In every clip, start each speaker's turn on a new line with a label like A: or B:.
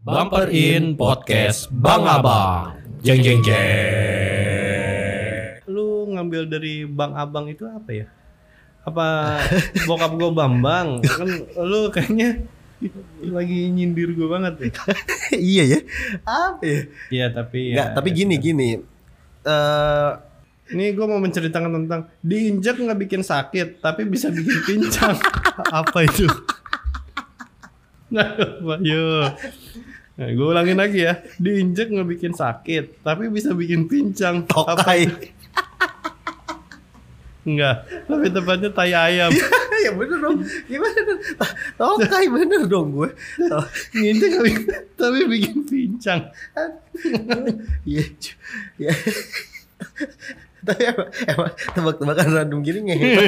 A: Bumper In Podcast Bang Abang. Jeng jeng jeng.
B: lu ngambil dari Bang Abang itu apa ya? Apa bokap gue Bambang? Kan lu kayaknya lagi nyindir gue banget deh.
C: iya ya apa ya
B: Iya tapi
C: nggak
B: ya,
C: tapi gini gini Eh
B: Ini gue mau menceritakan tentang diinjak nggak bikin sakit, tapi bisa bikin pincang. apa itu? Nah, ayo. Nah, gue ulangin lagi ya. Diinjak nggak bikin sakit, tapi bisa bikin pincang. Apa?
C: tokai
B: Enggak. Tapi tepatnya tai ayam.
C: ya bener dong gimana dong Ta- tokai bener dong gue Oh, To-
B: Nginjek nggak bikin- tapi bikin pincang.
C: iya cu- iya tapi emang, emang tebak-tebakan random gini
B: Hmm,
C: ngehebat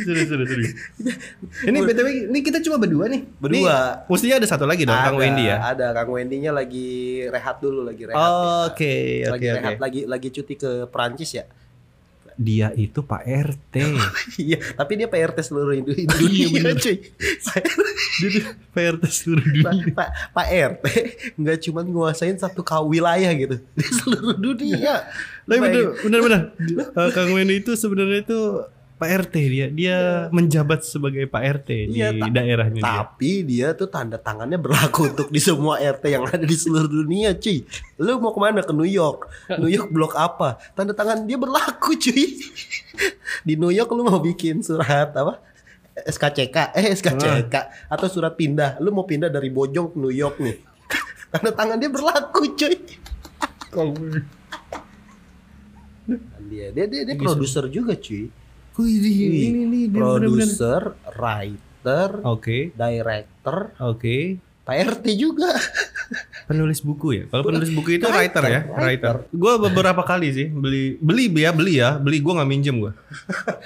B: Serius, serius, serius. Ini btw, ini kita cuma berdua nih. Ini
C: Berdua.
B: Mestinya ada satu lagi dong, Kang
C: Ada-
B: Wendy ya.
C: ada kang Wendy nya lagi rehat dulu lagi rehat
B: Oke,
C: lagi
B: oke, oke.
C: rehat lagi lagi cuti ke Perancis ya
A: Dia itu Pak RT.
C: iya tapi dia PRT seluruh Indo-
B: Iya,
C: dunia bener cuy
B: Dia tuh PRT seluruh dunia.
C: Pak, Pak, Pak RT nggak cuma nguasain satu kau wilayah gitu di seluruh dunia.
B: Iya. Tapi bener,
C: Bayangin.
B: bener, bener. Eh, Kang Wendy itu sebenarnya itu Pak RT dia. Dia menjabat sebagai Pak RT di
C: Iya, ta-
B: daerahnya dia.
C: Tapi dia tuh tanda tangannya berlaku untuk di semua RT yang ada di seluruh dunia, cuy. Lu mau kemana ke New York? New York blok apa? Tanda tangan dia berlaku, cuy. Di New York lu mau bikin surat apa? SKCK, eh SKCK atau surat pindah. Lu mau pindah dari Bojong ke New York nih. Tanda tangan dia berlaku, cuy.
B: Kang Wendy.
C: Dia dia dia, dia produser juga, cuy.
B: Iya, Wih, dia-
C: Wih,
B: ini nih, dia bener-bener.
C: produser, writer,
B: Oke,
C: director,
B: oke.
C: Pak RT juga.
B: Penulis buku ya. Kalau penulis buku itu writer ya,
C: Writer.
B: writer. Gue beberapa kali sih beli beli ya beli ya beli gue nggak minjem gue.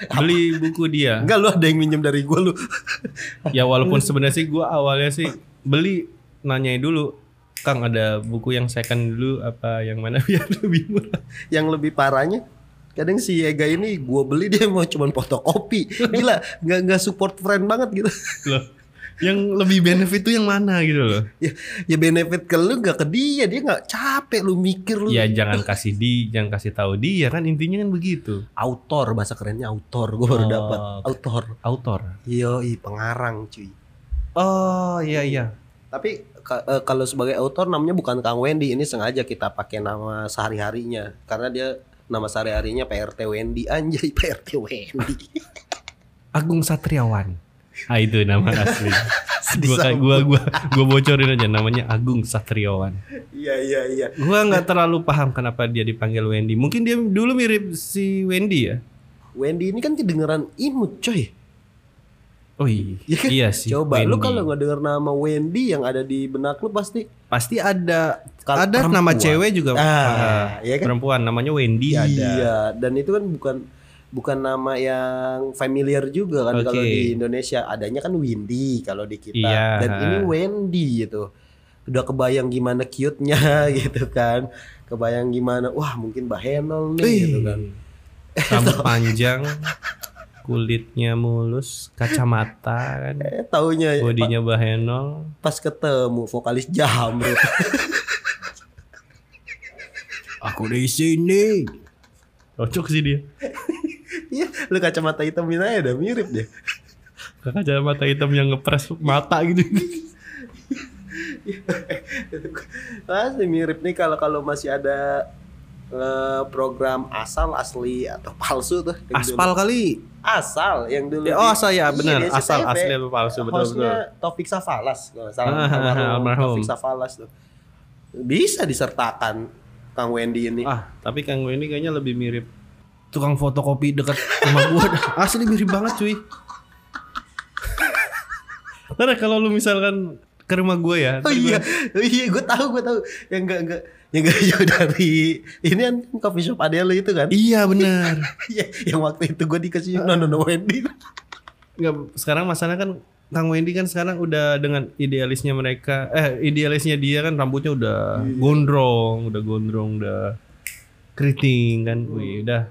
B: Beli buku dia.
C: Enggak lu ada yang minjem dari gue lu.
B: ya walaupun sebenarnya sih gue awalnya sih beli nanyain dulu Kang ada buku yang second dulu apa yang mana biar lebih murah
C: yang lebih parahnya kadang si Ega ini gue beli dia mau cuman fotokopi. Gila, nggak nggak support friend banget gitu.
B: loh yang lebih benefit tuh yang mana gitu loh
C: ya, ya benefit ke lu nggak ke dia, dia nggak capek lu mikir lu.
B: ya jangan kasih di jangan kasih tahu dia kan intinya kan begitu
C: Autor bahasa kerennya autor gue baru
B: Oh,
C: dapat.
B: oke.
C: Autor.
B: autor
C: Yoi, pengarang cuy.
B: oh iya iya
C: Tapi ka- eh, kalau sebagai autor namanya bukan Kang Wendy, ini sengaja kita pakai nama sehari-harinya karena dia nama sehari-harinya PRT Wendy anjay PRT Wendy.
B: Agung Satriawan ah itu nama asli gua
C: Disambung.
B: gua gua gua bocorin aja namanya Agung Satriawan
C: Iya iya iya.
B: gua nggak terlalu paham kenapa dia dipanggil Wendy mungkin dia dulu mirip si Wendy ya
C: Wendy ini kan kedengeran imut coy.
B: Oh iya,
C: Iya kan?
B: iya sih.
C: Coba lu
B: Wendy.
C: kalau nggak denger nama Wendy yang ada di benak lu pasti
B: pasti ada
C: Kal-
B: ada nama
C: perempuan.
B: cewek juga
C: Ah,
B: Ah,
C: iya kan?
B: perempuan namanya Wendy ada.
C: Iya, dan itu kan bukan bukan nama yang familiar juga kan
B: Oke.
C: kalau di Indonesia adanya kan Windy kalau di kita.
B: Iya.
C: Dan ini Wendy gitu. Udah kebayang gimana cute-nya gitu kan. Kebayang gimana wah mungkin Mbak Henol nih
B: Wih.
C: gitu kan.
B: Rambut panjang, kulitnya mulus, kacamata kan,
C: Eh taunya pa-
B: bodinya bahenol.
C: pas ketemu vokalis Jamrut.
A: Aku di sini.
B: Cocok sih dia.
C: Iya, lu kacamata hitamin aja udah mirip deh.
B: Kacamata hitam yang ngepres mata gitu.
C: Pasti mirip nih kalau kalau masih ada eh, program asal asli atau palsu tuh yang dulu.
B: Aspal kali.
C: asal yang dulu
B: Oh
C: di-
B: saya
C: Iya,
B: benar.
C: di SCTV.
B: Asal asli apa palsu betul betul.
C: Hostnya Taufik Safalas kalau nggak salah
B: Ah, almarhum.
C: Taufik Safalas tuh bisa disertakan Kang Wendy ini
B: Ah tapi Kang Wendy kayaknya lebih mirip.
A: Tukang fotokopi dekat rumah gua.
B: Asli mirip banget cuy. Ntar deh, kalau lu misalkan ke rumah gue ya.
C: oh
B: ntar gua-
C: iya oh, iya gue tahu gue tahu yang nggak nggak yang nggak jauh dari ini kan coffee shop ada lu itu kan
B: Iya benar.
C: Iya, yang waktu itu gue dikasih
B: Ah.
C: no no no Wendy
B: Nggak, sekarang masalahnya kan Kang Wendy kan sekarang udah dengan idealisnya mereka eh idealisnya dia kan rambutnya udah
C: Iya.
B: gondrong, udah gondrong, udah keriting kan.
C: Hmm.
B: Wih, udah.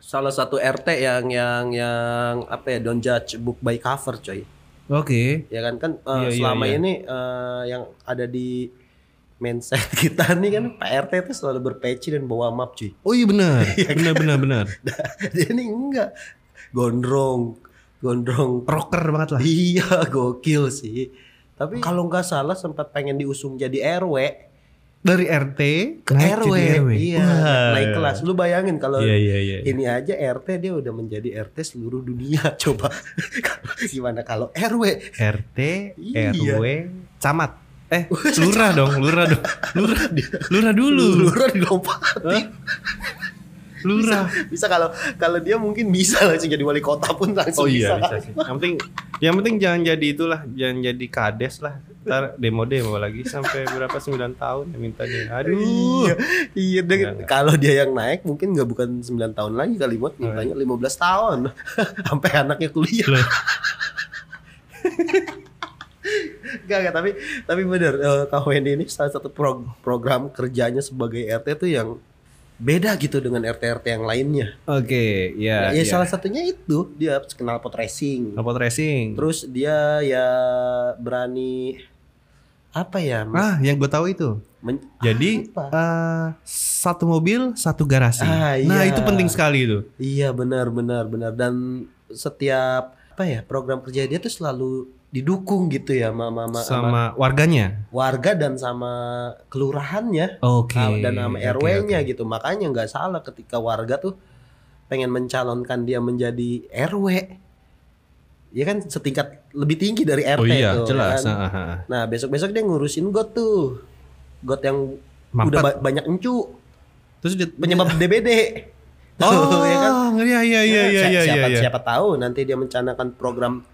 C: salah satu RT yang yang yang apa ya don't judge book by cover coy
B: Oke.
C: ya kan kan eh,
B: Iya, iya,
C: selama
B: iya.
C: ini eh, yang ada di mindset kita nih kan PRT itu selalu berpeci dan bawa map cuy
B: Oh iya benar.
C: kan?
B: benar benar benar.
C: dia nih enggak gondrong gondrong
B: Rocker banget lah.
C: iya gokil sih tapi kalau nggak salah sempat pengen diusung jadi RW
B: Dari RT
C: ke
B: naik
C: RW,
B: jadi
C: iya
B: Wah.
C: naik kelas lu bayangin kalau
B: Iya iya iya.
C: ini aja RT dia udah menjadi RT seluruh dunia coba gimana kalau RW
B: RT,
C: Iya.
B: RW, camat. Eh, lurah dong, lurah dong. Lurah. Lurah dulu.
C: lurah dilompatin
B: Lurah.
C: bisa kalau kalau dia mungkin bisa langsung jadi wali kota pun
B: Oh,
C: langsung Oh iya, bisa.
B: sih. iya, Yang penting yang penting jangan jadi itulah, jangan jadi kades lah. Ntar demo-demo lagi sampai berapa 9 tahun ya mintanya. Aduh.
C: Iya, iya Iya. deh.
B: Enggak, enggak.
C: Kalau dia yang naik mungkin nggak bukan 9 tahun lagi kali buat mintanya 15 tahun. Sampai anaknya kuliah.
B: Loh.
C: Enggak, enggak, tapi tapi benar Kak Wendy ini salah satu prog- program kerjanya sebagai RT tuh yang beda gitu dengan RT-RT yang lainnya.
B: Oke, ya.
C: ya
B: ya.
C: salah satunya itu dia kenal pot racing.
B: Robot racing.
C: Terus dia ya berani apa ya?
B: Ah, yang gue tahu itu.
C: men- ah,
B: Jadi
C: Apa?
B: eh, satu mobil, satu garasi.
C: Ah,
B: Nah,
C: iya.
B: itu penting sekali itu.
C: Iya benar benar benar dan setiap apa ya program kerja dia tuh selalu didukung gitu ya sama sama, sama
B: Sama warganya.
C: warga dan sama kelurahannya
B: Oke.
C: Nah, Ah, dan sama
B: oke,
C: RW-nya
B: oke.
C: gitu makanya nggak salah ketika warga tuh pengen mencalonkan dia menjadi RW ya kan setingkat lebih tinggi dari
B: Oh
C: RT
B: iya,
C: tuh,
B: jelas.
C: kan.
B: Ah, ah, ah.
C: Nah besok besok dia ngurusin got tuh got yang
B: Mampet.
C: udah ba- banyak encu
B: Terus dia
C: penyebab DBD
B: Oh,
C: ya kan?
B: iya iya iya iya
C: siapa,
B: iya iya.
C: siapa, siapa tahu nanti dia mencanangkan program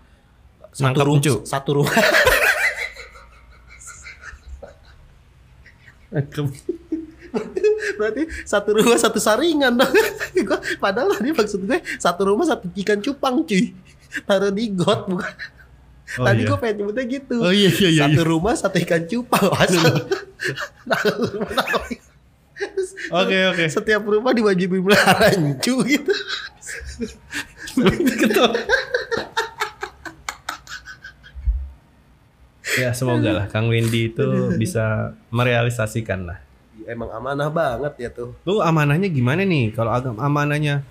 C: satu
B: Nangkep
C: ru-
B: encu.
C: satu rumah berarti satu rumah satu saringan dong Gua- padahal tadi maksud gue satu rumah satu ikan cupang cuy taruh di got bukan
B: Oh,
C: tadi
B: iya.
C: gue pengen nyebutnya gitu
B: Oh iya iya iya.
C: satu
B: iya.
C: rumah satu ikan cupang asal
B: Oke oke.
C: setiap rumah diwajibin melihara encu gitu
B: Ya semoga lah Kang Wendy itu bisa merealisasikan lah.
C: Iya, emang amanah banget ya tuh
B: Lu amanahnya gimana nih? Kalau agam amanahnya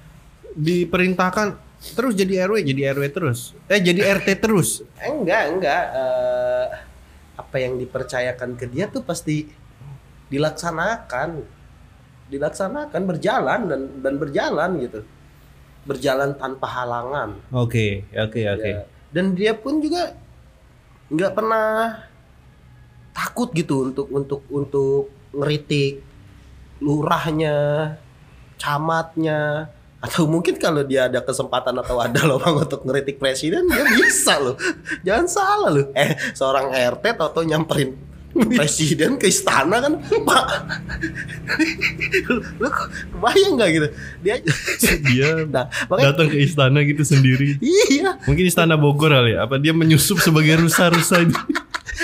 B: diperintahkan terus jadi RW, jadi RW terus. Eh jadi RT terus.
C: Enggak, enggak. Eh, apa yang dipercayakan ke dia tuh pasti dilaksanakan, dilaksanakan berjalan dan dan berjalan gitu, berjalan tanpa halangan.
B: Oke oke oke.
C: Ya. Dan dia pun juga nggak pernah takut gitu untuk untuk untuk ngeritik lurahnya, camatnya, atau mungkin kalau dia ada kesempatan atau ada lubang untuk ngeritik presiden dia bisa loh. Jangan salah loh. Eh seorang RT toto nyamperin presiden ke istana kan pak lu, lu kebayang nggak gitu dia
B: Dia
C: nah makanya
B: datang ke istana gitu sendiri.
C: iya
B: Mungkin istana Bogor kali. ya? Apa dia menyusup sebagai rusa-rusa itu?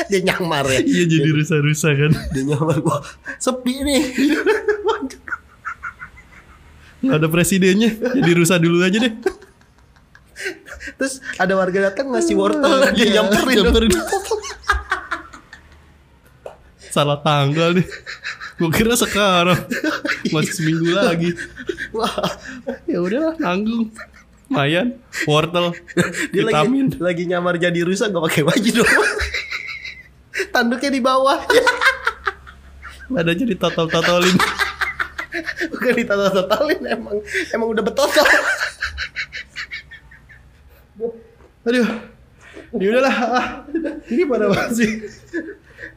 C: dia nyamar ya
B: Iya jadi rusa-rusa kan.
C: dia nyamar gua sepi nih
B: Nggak ada presidennya. Jadi rusa dulu aja deh.
C: terus ada warga datang ngasih wortel dia nyamperin
B: Iya. nyamperin. Salah tanggal nih. Gue kira sekarang masih seminggu lagi.
C: wah
B: Ya udahlah nanggung. Mayan, wortel,
C: dia
B: vitamin.
C: lagi lagi nyamar jadi rusak gak pakai baju dong tanduknya di bawah
B: Ada jadi total-totolin.
C: bukan ditata-tatalin emang emang udah betotal
B: Aduh. Ya udahlah. ah. Ini pada banget sih.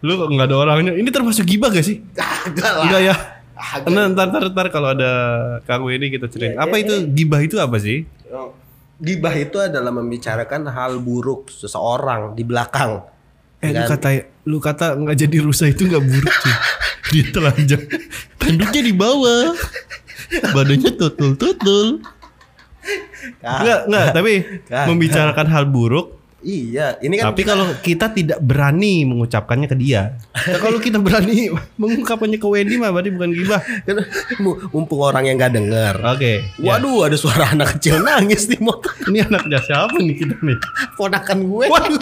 B: Lu kok nggak ada orangnya? Ini termasuk gibah gak sih?
C: kagak lah ah,
B: Enggak ya.
C: Kagak.
B: Nah, ntar, ntar, ntar kalau ada Kang ini kita
C: Iya,
B: ceritain. Apa itu gibah itu apa sih?
C: gibah itu adalah membicarakan hal buruk seseorang di belakang
B: Eh lu
C: Dan-
B: kata lu kata nggak jadi rusa itu nggak buruk cuy. Dia telanjang. Tanduknya di bawah. Badannya tutul tutul.
C: Kagak. Ah.
B: Enggak enggak tapi
C: Kagak.
B: membicarakan hal buruk
C: Iya, ini kan
B: Tapi kalau kita tidak berani mengucapkannya ke dia. Nah, kalau kita berani mengungkapkannya ke Wendy mah berarti bukan gibah.
C: Kan mumpung orang yang nggak denger.
B: Oke. ya.
C: Waduh, ada suara anak kecil nangis di motor
B: Ini anaknya siapa nih kita nih?
C: ponakan gue.
B: Waduh.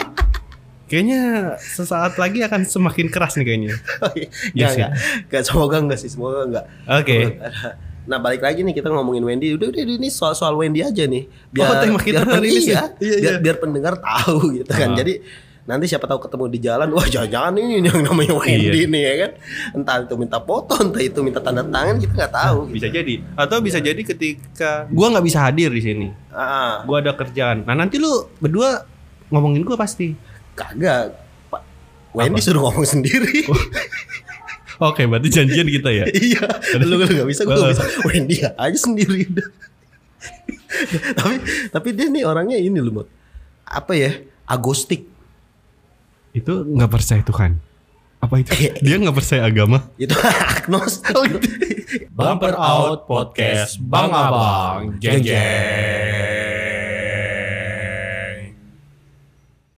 B: Kayaknya sesaat lagi akan semakin keras nih kayaknya.
C: Oh, iya. Nggak,
B: Iya sih.
C: nggak. Nggak, semoga enggak sih, semoga enggak.
B: Oke.
C: Nah balik lagi nih kita ngomongin Wendy Udah udah udah, ini soal soal Wendy aja nih
B: Oh, tema kita
C: biar
B: hari ini
C: pen-
B: sih.
C: iya,
B: Iya,
C: biar,
B: iya.
C: biar pendengar tahu gitu kan
B: Ah.
C: Jadi nanti siapa tahu ketemu di jalan Wah jangan-jangan ini
B: Iya.
C: yang namanya Wendy nih ya kan Entah itu minta foto entah itu minta tanda tangan kita nggak tahu gitu.
B: Bisa jadi atau bisa jadi ketika gua nggak bisa hadir di sini.
C: Ah,
B: Gua ada kerjaan. Nah, nanti lu berdua ngomongin gua pasti.
C: Kagak Pak Wendy suruh ngomong
B: Oh,
C: sendiri
B: Oke, berarti janjian kita ya.
C: Iya Lu lu nggak bisa gue
B: Ah.
C: nggak bisa Wendy aja sendiri udah. Tapi tapi dia nih orangnya ini loh Mot. Apa ya Agostik
B: Itu nggak percaya Tuhan. Apa itu? Dia nggak percaya agama.
C: Itu agnostik
A: Bumper Out Podcast Bang Abang Jeng Jeng